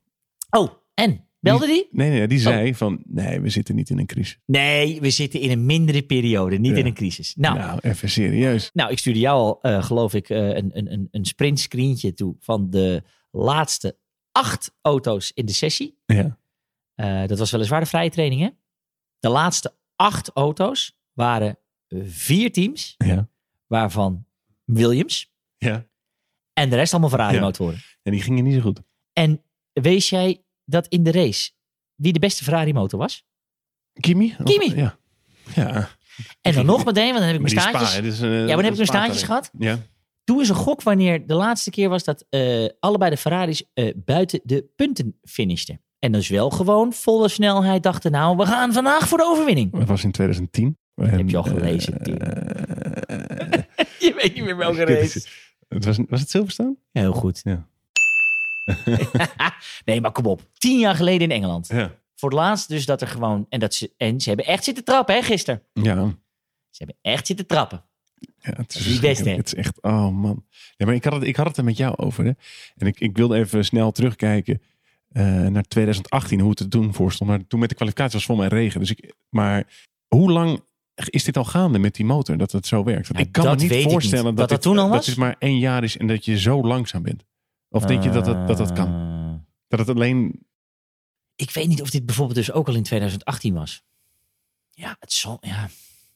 Oh, en? Belde die? Nee, nee, die zei van, nee, we zitten niet in een crisis. Nee, we zitten in een mindere periode, niet Ja. in een crisis. Nou, Nou, even serieus. Nou, ik stuurde jou al, eh, geloof ik, eh, een, een, een, een sprintscreentje toe van de laatste acht auto's in de sessie. Ja. Eh, dat was weliswaar de vrije training, hè? De laatste acht auto's waren eh, vier teams, Ja. waarvan Williams ja. en de rest allemaal Ja. Ferrari-motoren. En die gingen niet zo goed. En wees jij dat in de race wie de beste Ferrari-motor was? Kimi? Of- Kimi. Ja. Ja. En dan ging- nog meteen, want dan heb Maar ik mijn die staartjes. Spa, ja, dus, maar dan heb ik mijn staartjes gehad. Ja. Doe eens een gok wanneer de laatste keer was dat eh, allebei de Ferraris eh, buiten de punten finishten. En dus wel gewoon volle snelheid dachten, nou, we gaan vandaag voor de overwinning. Dat was in 2010. Heb je al gelezen, eh, Tim? Je weet niet meer welke race. Het was, was het Silverstone? Heel goed. Ja. nee, maar kom op. Tien jaar geleden in Engeland. Ja. Voor het laatst dus dat er gewoon... En, dat ze, en ze hebben echt zitten trappen, hè, gisteren. Ja. Ze hebben echt zitten trappen. Ja, het is Die beste. Het is echt, oh man. Ja, maar ik had het, ik had het er met jou over. Hè? En ik, ik wilde even snel terugkijken eh, naar 2018, hoe het er toen voor stond. Maar toen met de kwalificatie was het voor mij regen. Dus ik, maar hoe lang is dit al gaande met die motor, dat het zo werkt? Want Ja, ik kan Nou, dat me weet ik niet niet. voorstellen Dat dat dit, toen al was? Dat het maar één jaar is en dat je zo langzaam bent. Of denk je dat dat, dat, dat kan? Eh, Dat het alleen... Ik weet niet of dit bijvoorbeeld dus ook al in 2018 was. Ja, het zal... Ja,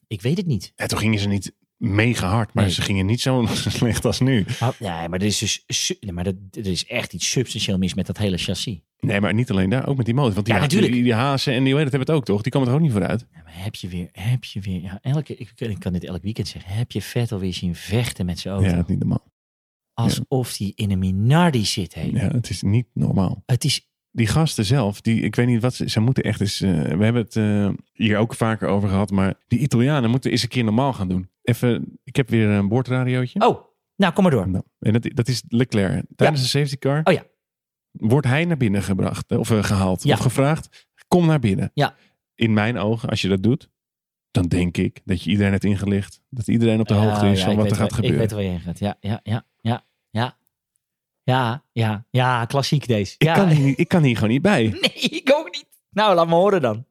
ik weet het niet. Ja, toen gingen ze niet mega hard, maar Nee. ze gingen niet zo slecht als nu. Maar, nee, maar er is dus su- nee, maar dat, er is echt iets substantieel mis met dat hele chassis. Nee, maar niet alleen daar, ook met die motor. Want die, Ja, ha- natuurlijk. die, die hazen en die hoe heet het, hebben het ook, toch? Die komen er ook niet vooruit. Ja, maar heb je weer, heb je weer, ja, elke, ik, ik kan dit elk weekend zeggen, heb je Vettel weer zien vechten met zijn auto? Ja, het is niet normaal. Alsof hij in een Minardi zit, hé. Ja, het is niet normaal. Het is, Die gasten zelf, die, ik weet niet wat ze, ze moeten echt eens. eh, we hebben het eh, hier ook vaker over gehad, maar die Italianen moeten eens een keer normaal gaan doen. Even, ik heb weer een boordradiootje. oh, nou kom maar door. Nou, en dat, dat is Leclerc. Tijdens de safety car. Oh ja. Wordt hij naar binnen gebracht eh, of eh, gehaald Ja. of gevraagd? Kom naar binnen. Ja. In mijn ogen, als je dat doet, dan denk ik dat je iedereen hebt ingelicht. Dat iedereen op de hoogte Ah, is ja, van ik wat weet er gaat waar- gebeuren. Ik weet waar je heen gaat, ja, ja, ja, ja, ja. Ja, ja, ja, klassiek deze. Ik ja. kan, hier, ik kan hier gewoon niet bij. Nee, ik ook niet. Nou, laat me horen dan.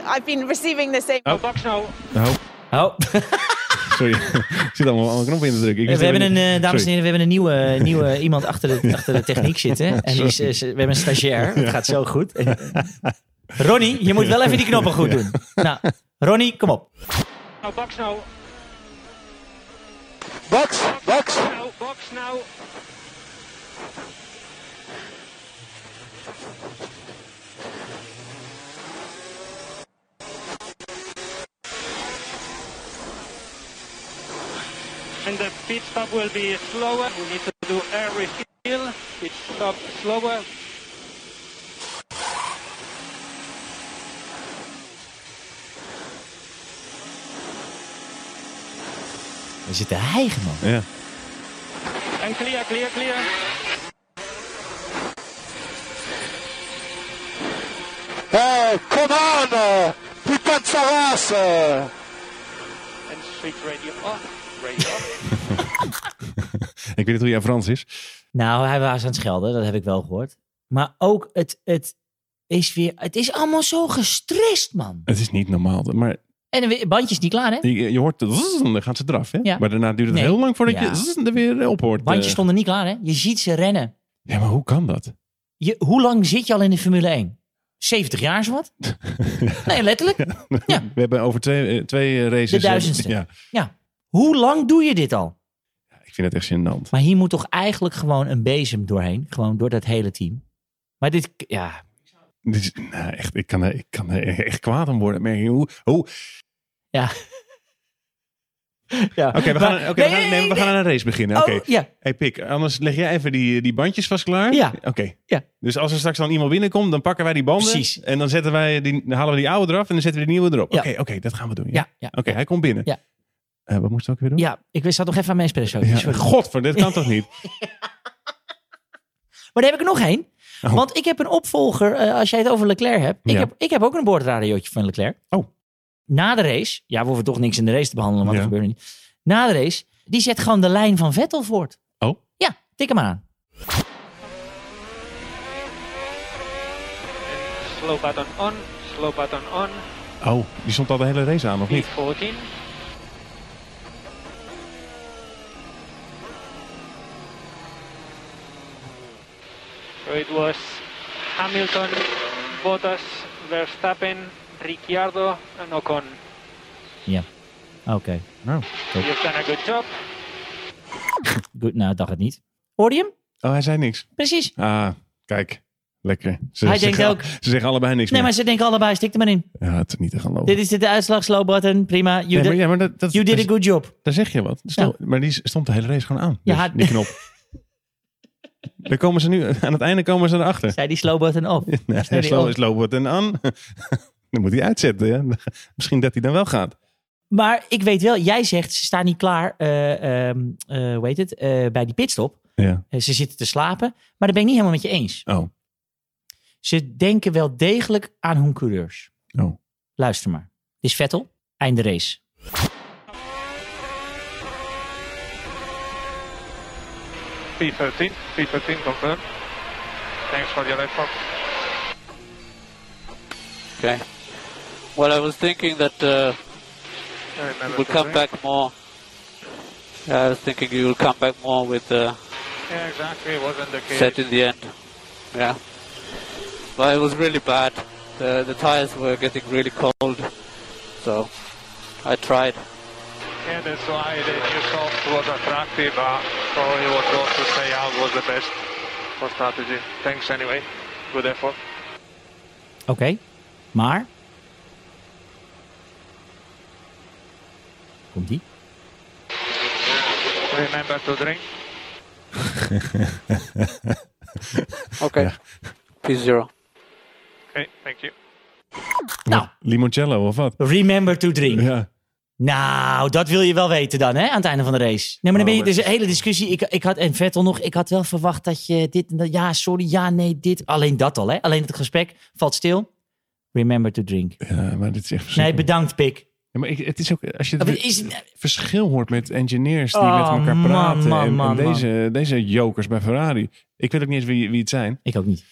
I've been receiving the same. Oh. Oh. Sorry, ik zit allemaal alle knoppen in te drukken. Ik We wist hebben even een, niet- eh, dames en Sorry. heren, we hebben een nieuwe, nieuwe iemand achter de, achter de techniek zitten. En die is, is- we hebben een stagiair. Het gaat zo goed. En- Ronnie, je moet wel even die knoppen goed doen. Nou, Ronnie, kom op. Nou, Baks nou. Box, box. Nou, Baks nou. And the pit stop will be slower. We need to do air refill. Pit stop slower. We zitten hijgen, man. Ja. And clear, clear, clear. Hey, Eh, come on! uh, Putain de sa race, uh. And switch radio off. Radio off. Ik weet niet hoe jij Frans is. Nou, hij was aan het schelden, dat heb ik wel gehoord. Maar ook het, het is weer, het is allemaal zo gestrest, man. Het is niet normaal. Maar En de we- bandjes niet klaar, hè? je, je hoort, de zzz, dan gaat ze eraf. Hè? Ja. Maar daarna duurt het Nee. heel lang voordat Ja. je zzz er weer op hoort. Bandjes Eh, stonden niet klaar, hè? Je ziet ze rennen. Ja, maar hoe kan dat? Je, hoe lang zit je al in de Formule 1? 70 jaar is wat? Nee, letterlijk. Ja. We hebben over twee, eh, twee eh, races... De duizendste. Ja, Ja. Hoe lang doe je dit al? ik vind het echt gênant. Maar hier moet toch eigenlijk gewoon een bezem doorheen. Gewoon door dat hele team. Maar dit, ja. Dit is- nou, echt, ik kan, er- ik kan er echt kwaad om worden. Merk je hoe... hoe Oké, ja. we, Maar- gaan, oké, we, Nee, gaan, nee, we nee, gaan aan een race beginnen. Oké. Oh, ja. Hey Pik, anders leg jij even die, die bandjes vast klaar. Ja. Oké. Ja. Dus als er straks dan iemand binnenkomt, dan pakken wij die banden. Precies. En dan, zetten wij die, dan halen we die oude eraf en dan zetten we die nieuwe erop. Ja. Oké, oké, dat gaan we doen. Ja. Ja, ja. Oké, hij komt binnen. Ja. Eh, wat moesten we ook weer doen? ja, ik zat nog even aan mijn espresso. Ja. Sorry. Godver, dit kan toch niet? Maar daar heb ik er nog één. Oh. Want ik heb een opvolger, eh, als jij het over Leclerc hebt. Ik, Ja. heb, ik heb ook een boordradiootje van Leclerc. Oh. Na de race, ja, we hoeven toch niks in de race te behandelen, want Ja. dat gebeurt niet. Na de race, die zet gewoon de lijn van Vettel voort. Oh. Ja, tik hem aan. Slow button on. Slow button on. Oh, die stond al de hele race aan, of niet? P14. So it was Hamilton, Bottas, Verstappen, Ricciardo, and Ocon. Oké, Oh. You've done a good job. goed. Nou, dacht het niet. Hoorde je hem? Oh, hij zei niks. Precies. Ah, kijk. Lekker. Ze, Hij ze denkt zeggen- ook- Ze zeggen allebei niks Nee, maar meer. ze denken allebei, stik er maar in. Ja, het is niet te gaan lopen. Dit is de uitslag, slow button, prima. You, Oh. Nee, maar, ja, dus- did, maar dat, dat, you did a daar, good job. daar zeg je wat. Stel- Maar die stond de hele race gewoon aan. Ja, Dus die knop. Daar komen ze nu, aan het einde komen ze erachter. Zei die slow button op. Nee, Zei die slow op. is low button aan. Dan moet hij uitzetten. Ja. Misschien dat hij dan wel gaat. Maar ik weet wel, jij zegt ze staan niet klaar, eh, ehm, eh, hoe heet het, eh, bij die pitstop. Ja. Eh, ze zitten te slapen, maar dat ben ik niet helemaal met je eens. Oh, Ze denken wel degelijk aan hun coureurs. Oh. Luister maar. Dit is Vettel, einde race. P13. P13 confirmed. Thanks for your effort. Okay. Well, I was thinking that uh, I remember you will come something. back more. Yeah, I was thinking you will come back more with uh, Yeah, exactly. It wasn't the case. set in the end. Yeah. But it was really bad. The the tires were getting really cold, so I tried. Yeah, that's why the new soft was attractive. Uh, probably was going to stay out was the best for strategy. Thanks anyway. Good effort. Oké, maar... Komt die? Remember to drink. Okay. P0. Okay, thank you. Nou, limoncello of wat? remember to drink. Ja. Nou, dat wil je wel weten dan, hè? Aan het einde van de race. Nee, maar dan ben je, Oh, dus een hele discussie. Ik, ik had, en Vettel nog, ik had wel verwacht dat je dit en dat. Ja, sorry, ja, nee, dit. Alleen dat al, hè? Alleen het gesprek valt stil. Remember to drink. ja, maar dit is echt Nee, verschrikkelijk. bedankt, Pik. Ja, maar ik- het is ook, als je Maar het het is- verschil hoort met engineers die Oh, met elkaar man, praten. man, en- en man, man. deze, deze jokers bij Ferrari. Ik weet ook niet eens wie, wie het zijn. Ik ook niet.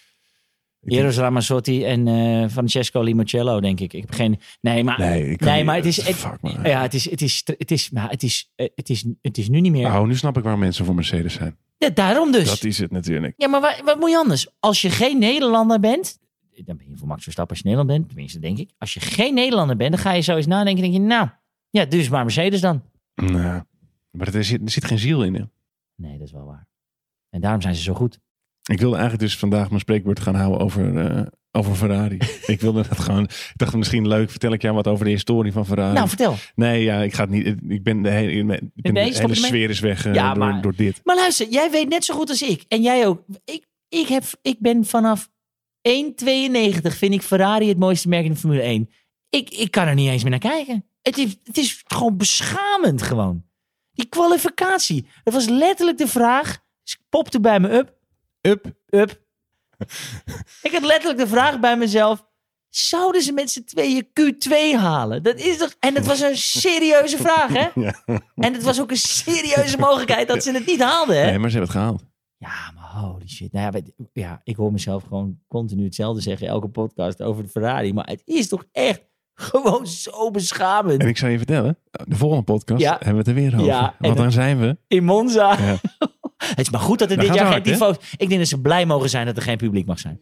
Eros Ramazzotti en eh, Francesco Limoncello, denk ik. Ik heb geen... Nee, maar, Nee, ik kan niet- maar het is... Het, fuck, man. ja, het is, het is, het is, maar het is, eh, het is, het is nu niet meer. Oh, nu snap ik waar mensen voor Mercedes zijn. Ja, daarom dus. Dat is het natuurlijk. Ja, maar wa- wat, moet je anders? Als je geen Nederlander bent, dan ben je voor Max Verstappen als je Nederlander bent, tenminste denk ik. Als je geen Nederlander bent, dan ga je zo eens nadenken denk je, nou, ja, dus maar Mercedes dan. Nou, maar er zit, er zit geen ziel in. Hè? Nee, dat is wel waar. En daarom zijn ze zo goed. Ik wilde eigenlijk dus vandaag mijn spreekwoord gaan houden over, eh, over Ferrari. ik wilde dat gewoon. Ik dacht misschien leuk, vertel ik jou wat over de historie van Ferrari. nou, vertel. nee, ja, ik ga het niet. Ik ben de hele, ik ben Nee, de stop hele ermee. sfeer is weg eh, Ja, door, maar- door dit. Maar luister, jij weet net zo goed als ik. En jij ook. Ik, ik, heb, ik ben vanaf 1,92 vind ik Ferrari het mooiste merk in de Formule 1. Ik, ik kan er niet eens meer naar kijken. Het is, het is gewoon beschamend gewoon. Die kwalificatie. Het was letterlijk de vraag. Ze popte bij me up. Up. Up. ik had letterlijk de vraag bij mezelf. Zouden ze met z'n tweeën Q2 halen? Dat is toch... En het was een serieuze vraag, hè? Ja. En het was ook een serieuze mogelijkheid dat ze het niet haalden, hè? Nee, maar ze hebben het gehaald. Ja, maar holy shit. Nou ja, weet- ja, ik hoor mezelf gewoon continu hetzelfde zeggen elke podcast over de Ferrari. Maar het is toch echt gewoon zo beschamend. En ik zou je vertellen, de volgende podcast Ja. hebben we het er weer over. Ja, en Want dan dat- zijn we. In Monza. Ja. het is maar goed dat er Dan dit gaat jaar geen het hard, tifo's... Ik denk dat ze blij mogen zijn dat er geen publiek mag zijn.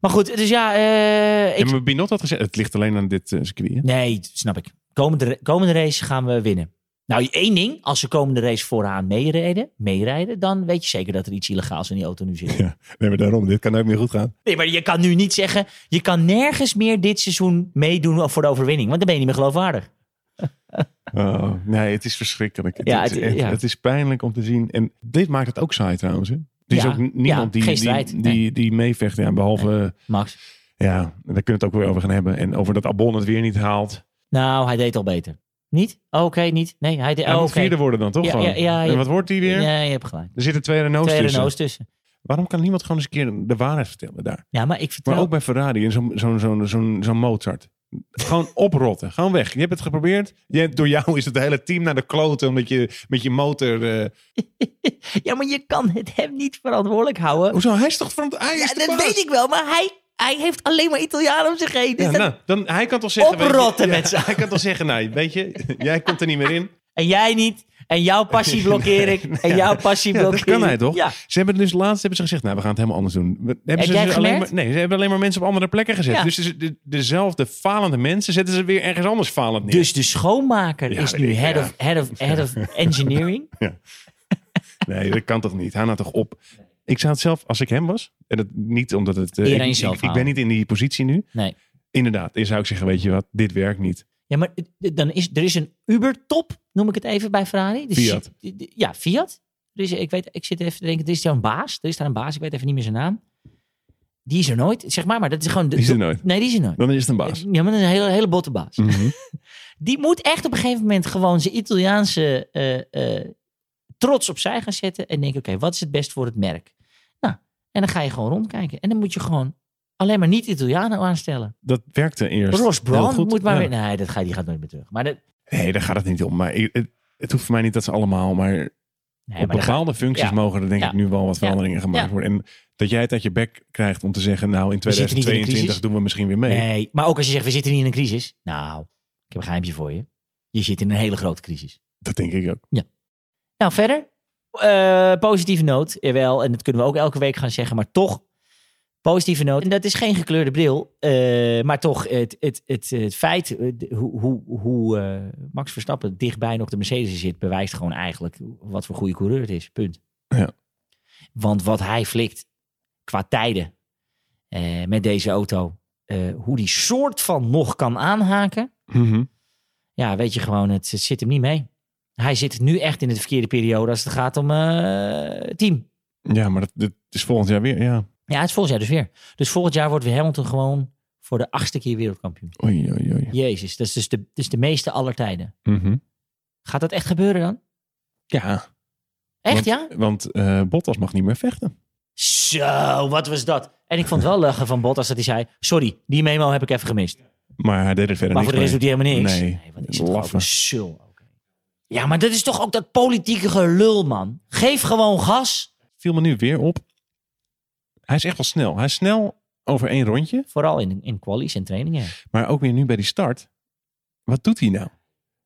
Maar goed, dus ja... eh, Ik... ik... Ja, maar Binot had gezegd, het ligt alleen aan dit eh, circuit. hè? Nee, snap ik. Komende, komende race gaan we winnen. Nou, één ding. Als ze komende race vooraan meerijden, meerijden dan weet je zeker dat er iets illegaals in die auto nu zit. Ja, nee, maar daarom, dit kan ook meer goed gaan. Nee, maar je kan nu niet zeggen... je kan nergens meer dit seizoen meedoen voor de overwinning. Want dan ben je niet meer geloofwaardig. Oh, nee, het is verschrikkelijk. Het, Ja, het, het- is echt- ja. het is pijnlijk om te zien. En dit maakt het ook saai trouwens. Hè? Er is Ja, ook n- niemand ja, die, geen die, strijd, die, nee. die meevecht. Ja, behalve, eh, Max? ja, daar kunnen we het ook weer over gaan hebben. En over dat Albon het weer niet haalt. Nou, hij deed al beter. Niet? Oh, Oké, niet. Nee, hij deed... Hij Oh, moet oké. vierde worden dan, toch? Ja, gewoon? ja, ja, ja. En wat wordt hij weer? Ja, je hebt gelijk. Er zitten twee Renaults Twee tussen. Renaults tussen. Waarom kan niemand gewoon eens een keer de waarheid vertellen daar? Ja, maar ik vertrouw... Maar ook bij Ferrari en zo'n zo'n zo'n zo'n zo'n Mozart. Gewoon oprotten. Gewoon weg. Je hebt het geprobeerd. Je, door jou is het hele team naar de kloten. Omdat je met je motor... eh, Ja, maar je kan het hem niet verantwoordelijk houden. Hoezo? Hij is toch van het hij is Ja, de dat baas? weet ik wel, maar hij, hij heeft alleen maar Italianen om zich heen. Dus Ja, dat- nou, dan, hij kan toch zeggen... weet je- Oprotten met z'n- Hij kan toch zeggen, nou, weet je, jij komt er niet meer in. En jij niet. En jouw passie blokkeer ik. en jouw passie Ja, blokkeer dat kan ik. hij toch? Ja. Ze hebben dus laatst hebben ze gezegd, nou, we gaan het helemaal anders doen. We- Hebben Heb ze jij dus het alleen maar, gemerkt? Nee, ze hebben alleen maar mensen op andere plekken gezet. Ja. Dus ze- de, dezelfde falende mensen zetten ze weer ergens anders falend neer. Dus de schoonmaker Ja, is nu ik- head, ja. of, head, of, head of engineering. Nee, dat kan toch niet? Hij nou toch op. Ik zou het zelf, als ik hem was, en dat niet omdat het... eh, Iedereen ik- zelf ik, ik ben halen. niet in die positie nu. Nee. Inderdaad, dan zou ik zeggen, weet je wat, dit werkt niet. Ja, maar eh, dan is, er is een Uber-top, noem ik het even bij Ferrari. Dus- Fiat. Ja, Fiat. Er is, ik, weet, ik zit even te denken, er is daar een baas. Er is daar een baas, ik weet even niet meer zijn naam. Die is er nooit, zeg maar. Maar dat is gewoon... de- Die is er nooit. Nee, die is er nooit. Dan is het een baas. Ja, maar dat is een hele, hele botte baas. Mhm. Die moet echt op een gegeven moment gewoon zijn Italiaanse eh, eh, trots opzij gaan zetten. En denken, oké, wat is het best voor het merk? Nou, en dan ga je gewoon rondkijken. En dan moet je gewoon alleen maar niet Italianen aanstellen. Dat werkte eerst Ross heel Brown goed. moet maar Ja. weer... Nee, dat ga, die gaat nooit meer terug. Maar dat, Nee, daar gaat het niet om. Maar ik- het, het hoeft voor mij niet dat ze allemaal, maar nee, op maar dat- bepaalde functies ja. mogen er denk Ja. ik nu wel wat veranderingen gemaakt Ja. worden. En dat jij het uit je bek krijgt om te zeggen, nou in We zitten niet in de 2022 crisis. doen we misschien weer mee. Nee, maar ook als je zegt, we zitten niet in een crisis. Nou, ik heb een geheimje voor je. Je zit in een hele grote crisis. Dat denk ik ook. Nou, verder. Eh, positieve noot, jawel. En dat kunnen we ook elke week gaan zeggen, maar toch. Positieve noot. En dat is geen gekleurde bril. eh, maar toch, het, het, het, het feit eh, de- hoe, hoe, hoe eh, Max Verstappen dichtbij nog de Mercedes zit... bewijst gewoon eigenlijk wat voor goede coureur het is. Punt. Ja. Want wat hij flikt qua tijden eh, met deze auto... eh, hoe die soort van nog kan aanhaken Mhm. ja, weet je gewoon, het, het zit hem niet mee. Hij zit nu echt in de verkeerde periode als het gaat om eh, team. Ja, maar dat, dat is volgend jaar weer. Ja. Ja, het is volgend jaar dus weer. Dus volgend jaar wordt weer Hamilton gewoon voor de achtste keer wereldkampioen. Oei, oei, oei. Jezus, dat is dus de, dat is de meeste aller tijden. Mhm. Gaat dat echt gebeuren dan? Ja, Echt, want, ja? Want eh, Bottas mag niet meer vechten. Zo, wat was dat? En ik vond het wel lachen van Bottas dat hij zei... Sorry, die memo heb ik even gemist. Maar hij deed er verder Maar voor niks de rest doet mee. hij helemaal niks. Nee, wat is het toch ook laffen. een sul. ook, hè? Ja, maar dat is toch ook dat politieke gelul, man. Geef gewoon gas. Viel me nu weer op. Hij is echt wel snel. Hij is snel over één rondje. Vooral in, in qualies en trainingen. Maar ook weer nu bij die start. Wat doet hij nou?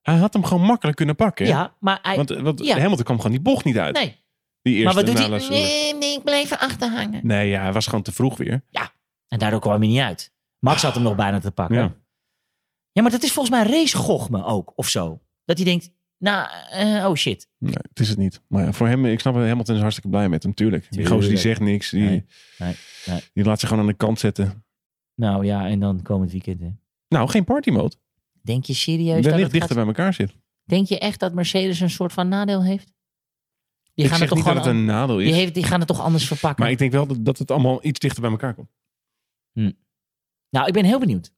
Hij had hem gewoon makkelijk kunnen pakken. hè? Ja, maar hij... Want, eh, want ja. Hamilton kwam gewoon die bocht niet uit. nee, Die eerste maar wat doet hij? nalaatste ronde. Nee, nee, ik bleef erachter hangen. Nee, ja, hij was gewoon te vroeg weer. En daardoor kwam hij niet uit. Max had hem nog bijna te pakken. Ja. Ja, maar dat is volgens mij racegochme ook, of zo. Dat hij denkt, nou, eh, oh shit. Nee, het is het niet. Maar ja, voor hem, ik snap het, Hamilton is hartstikke blij met hem, tuurlijk. Die Tuurlijk. gozer die zegt niks. Die, Nee, nee, nee. die laat zich gewoon aan de kant zetten. Nou ja, en dan komend weekend. Hè. Nou, geen party mode. Denk je serieus dat Wellicht het dichter bij gaat- elkaar zit. Denk je echt dat Mercedes een soort van nadeel heeft? Die Ik gaan zeg het toch niet dat gewoon het een nadeel an- is. die, heeft, die gaan het toch anders verpakken? Maar ik denk wel dat, dat het allemaal iets dichter bij elkaar komt. Nou, ik ben heel benieuwd.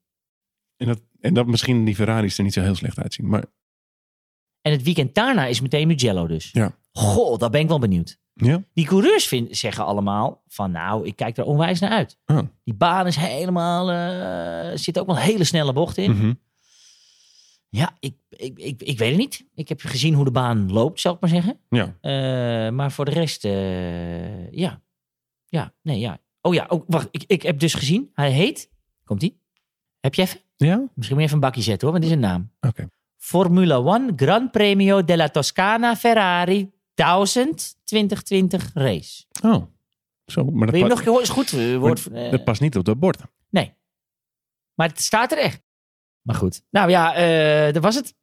En dat, en dat misschien die Ferraris er niet zo heel slecht uitzien. Maar En het weekend daarna is meteen Mugello dus. Ja. Goh, daar ben ik wel benieuwd. ja, Die coureurs vind, zeggen allemaal van nou, ik kijk er onwijs naar uit. Ah. Die baan is helemaal, eh, zit ook wel een hele snelle bocht in. mhm. Ja, ik, ik, ik, ik weet het niet. Ik heb gezien hoe de baan loopt, zal ik maar zeggen. ja. Eh, maar voor de rest, eh, ja. Ja, nee, ja. Oh ja, oh, wacht, ik, ik heb dus gezien. Hij heet, komt ie? Heb je even? Ja? Misschien moet je even een bakje zetten hoor, want het is een naam. Oké. Formula One Gran Premio della Toscana Ferrari 1000 2020 race. Oh. Zo, maar dat, Wil je hem nog past- een keer horen? Is goed. eh, woord, maar eh, dat past niet op dat bord. nee. Maar het staat er echt. Maar goed. Nou ja, eh dat was het.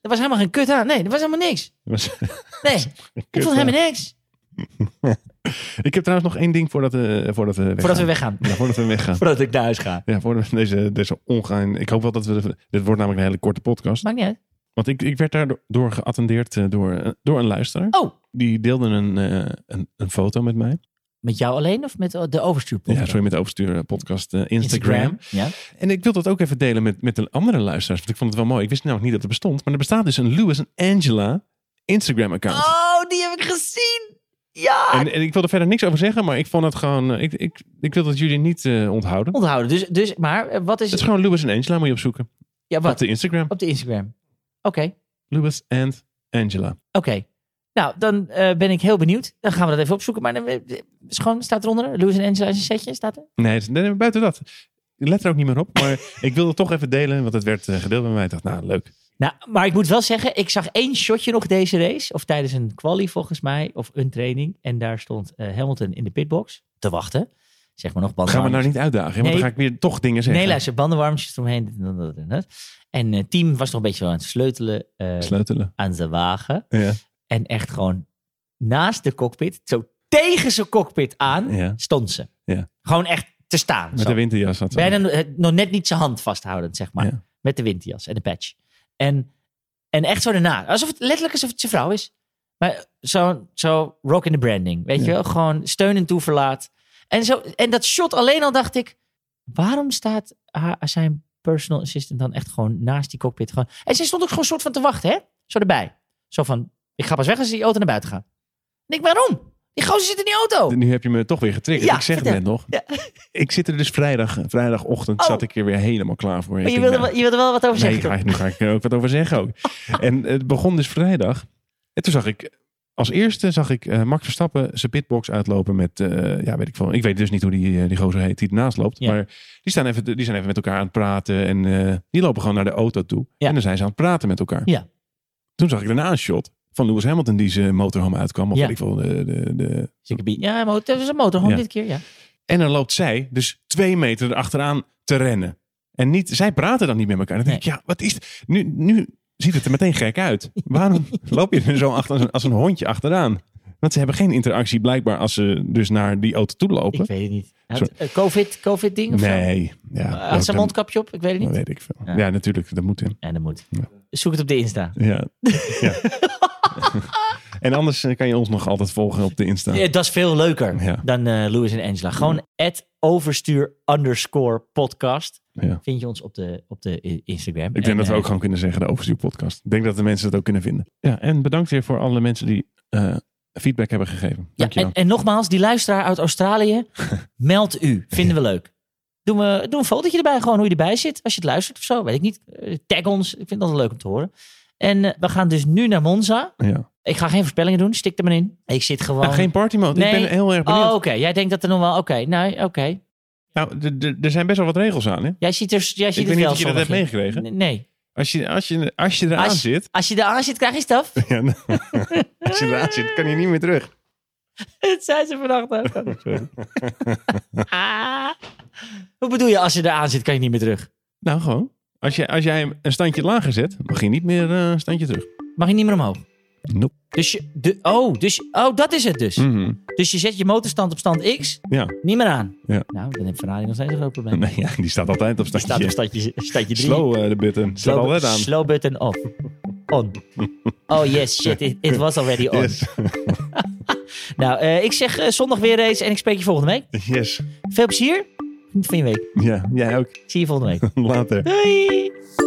Er was helemaal geen kut aan. Nee, er was helemaal niks. Dat was- Nee, ik vond helemaal niks. Ik heb trouwens nog één ding voordat, eh voordat we weggaan. Voordat we weggaan. Ja, voordat we weggaan. Voordat ik naar huis ga. Ja, voor de- deze, deze ongein. Ik hoop wel dat we. Dit wordt namelijk een hele korte podcast. Maakt niet uit. Want ik, ik werd daardoor geattendeerd eh, door, eh, door een luisteraar. Oh, Die deelde een, eh, een, een foto met mij. met jou alleen of met eh, de overstuur? Ja, sorry, met de Overstuur podcast eh, Instagram. Ja. En ik wil dat ook even delen met, met de andere luisteraars. Want ik vond het wel mooi. Ik wist namelijk niet dat het bestond. Maar er bestaat dus een Lewis en Angela Instagram account. Oh, die heb ik gezien. Ja. En, en ik wil er verder niks over zeggen. Maar ik vond het gewoon. eh, Ik, ik, ik wil dat jullie niet eh, onthouden. Onthouden. Dus, dus, maar eh, wat is... Het is gewoon Lewis en Angela moet je opzoeken. ja, Op wat? de Instagram. Op de Instagram. Oké, Lewis en Angela. oké. Nou, dan eh, ben ik heel benieuwd. Dan gaan we dat even opzoeken. Maar dan, eh, is gewoon, staat eronder. Lewis en Angela is een setje, staat er. Nee, het is- nee, nee, buiten dat. Ik Let er ook niet meer op. Maar ik wilde het toch even delen, want het werd eh, gedeeld bij mij. Ik dacht, nou, leuk. Nou, maar ik moet wel zeggen, ik zag één shotje nog deze race. Of tijdens een quali volgens mij, of een training. En daar stond eh, Hamilton in de pitbox te wachten. Zeg maar nog, Gaan we bandenwarmers. nou niet uitdagen, hè, want Nee. dan ga ik weer toch dingen zeggen. Nee, luister, bandenwarmers eromheen. En het team was nog een beetje aan het sleutelen eh, Sleutelen. aan zijn wagen. Ja. En echt gewoon naast de cockpit, zo tegen zijn cockpit aan, Ja. stond ze. Ja. Gewoon echt te staan. Met zo. de winterjas had ze. Bijna no- het- nog net niet zijn hand vasthoudend, zeg maar. Ja. Met de windjas en de patch. En, en echt zo daarna. Alsof het letterlijk alsof het zijn vrouw is. Maar zo, zo rock in the branding. Weet je Ja. wel? Gewoon steun en toeverlaat. En, zo, en dat shot alleen al dacht ik... Waarom staat haar, zijn personal assistant dan echt gewoon naast die cockpit? Gewoon... En ze stond ook gewoon soort van te wachten, hè? Zo erbij. Zo van, ik ga pas weg als die auto naar buiten gaat. En ik, waarom? Die gozer zit in die auto. Nu heb je me toch weer getriggerd. Ja, ik zeg het net vertel. nog. Ja. Ik zit er dus vrijdag, vrijdagochtend Oh. zat ik er weer helemaal klaar voor. Maar Ik je denk, wilde, nou, wel- je wilde wel wat over Nee, zeggen. toch? ga- nu ga ik er ook wat over zeggen ook. En het begon dus vrijdag. En toen zag ik, als eerste zag ik eh, Max Verstappen zijn pitbox uitlopen met, eh, ja weet ik veel. Ik weet dus niet hoe die, eh, die gozer heet die ernaast loopt. Ja. Maar die, staan even, die zijn even met elkaar aan het praten. En eh, die lopen gewoon naar de auto toe. Ja. En dan zijn ze aan het praten met elkaar. Ja. Toen zag ik daarna een shot van Lewis Hamilton die zijn motorhome uitkwam. Of Ja. weet ik veel, de, de, de... Zeker Bee. Dus Ja, mo- het is een motorhome Ja. dit keer, ja. En dan loopt zij dus twee meter erachteraan te rennen. En niet, zij praten dan niet met elkaar. Dan denk ik, ja, wat is. het? Nu, nu ziet het er meteen gek uit. Waarom loop je er zo achter, als een- als een hondje achteraan? Want ze hebben geen interactie blijkbaar als ze dus naar die auto toe Ik lopen. weet het niet. Had, Sorry. eh, COVID, COVID ding of zo? Nee, ja. Eh, dat- Had zijn mondkapje op? Ik weet het Dat niet. weet ik veel. Ja. Ja. natuurlijk, dat moet in. En dat moet. Ja. Zoek het op de Insta. Ja. ja. en anders eh, kan je ons nog altijd volgen op de Insta. Eh, Dat is veel leuker Ja. dan eh Louis en Angela. Gewoon at overstuur underscore podcast Ja. vind je ons op de, op de i- Instagram. Ik denk En, dat we eh, ook gewoon kunnen zeggen, de Overstuur podcast. Ik denk dat de mensen dat ook kunnen vinden. Ja, en bedankt weer voor alle mensen die eh, feedback hebben gegeven. ja, Dankjewel. en, en nogmaals, die luisteraar uit Australië, meld u. Vinden we leuk. Doe, me, doe een fotootje erbij, gewoon hoe je erbij zit. Als je het luistert of zo, weet ik niet. Eh, Tag ons, ik vind dat leuk om te horen. En eh, we gaan dus nu naar Monza. ja. Ik ga geen voorspellingen doen, stik er maar in. Ik zit gewoon... Nou, geen party mode. Ik Nee. ben heel erg Oh, benieuwd. oké. Jij denkt dat er nog wel... Oké, nee, oké. Nou, d- d- er zijn best wel wat regels aan. Hè? Jij ziet er, jij weet ziet het niet wel of je dat hebt sommige. meegekregen. Nee. Als je, als je, als je eraan Als- zit. Als je daar aan zit, krijg je staf. Ja, nou, als je eraan zit, kan je niet meer terug. Dat zei ze vannacht ook. Ah. Hoe bedoel je, als je daar aan zit, kan je niet meer terug? Nou, gewoon. Als, je, als jij hem een standje lager zet, mag je niet meer eh, een standje terug. Mag je niet meer omhoog? Nope. Dus je, de, oh, dus, oh, dat is het dus. Mhm. Dus je zet je motorstand op stand X, Ja. niet meer aan. Ja. Nou, dan heeft Ferrari nog steeds een groot probleem. Nee, ja, die staat altijd op Die staat op standje. standje, standje 3. Slow eh, de button. Staat altijd aan. slow button off. On. Oh yes, shit, it, it was already on. Yes. Nou, eh, ik zeg eh, zondag weer eens en ik spreek je volgende week. yes. Veel plezier. Geniet van je week. Ja, jij ook. Ik zie je volgende week. Later. Doei!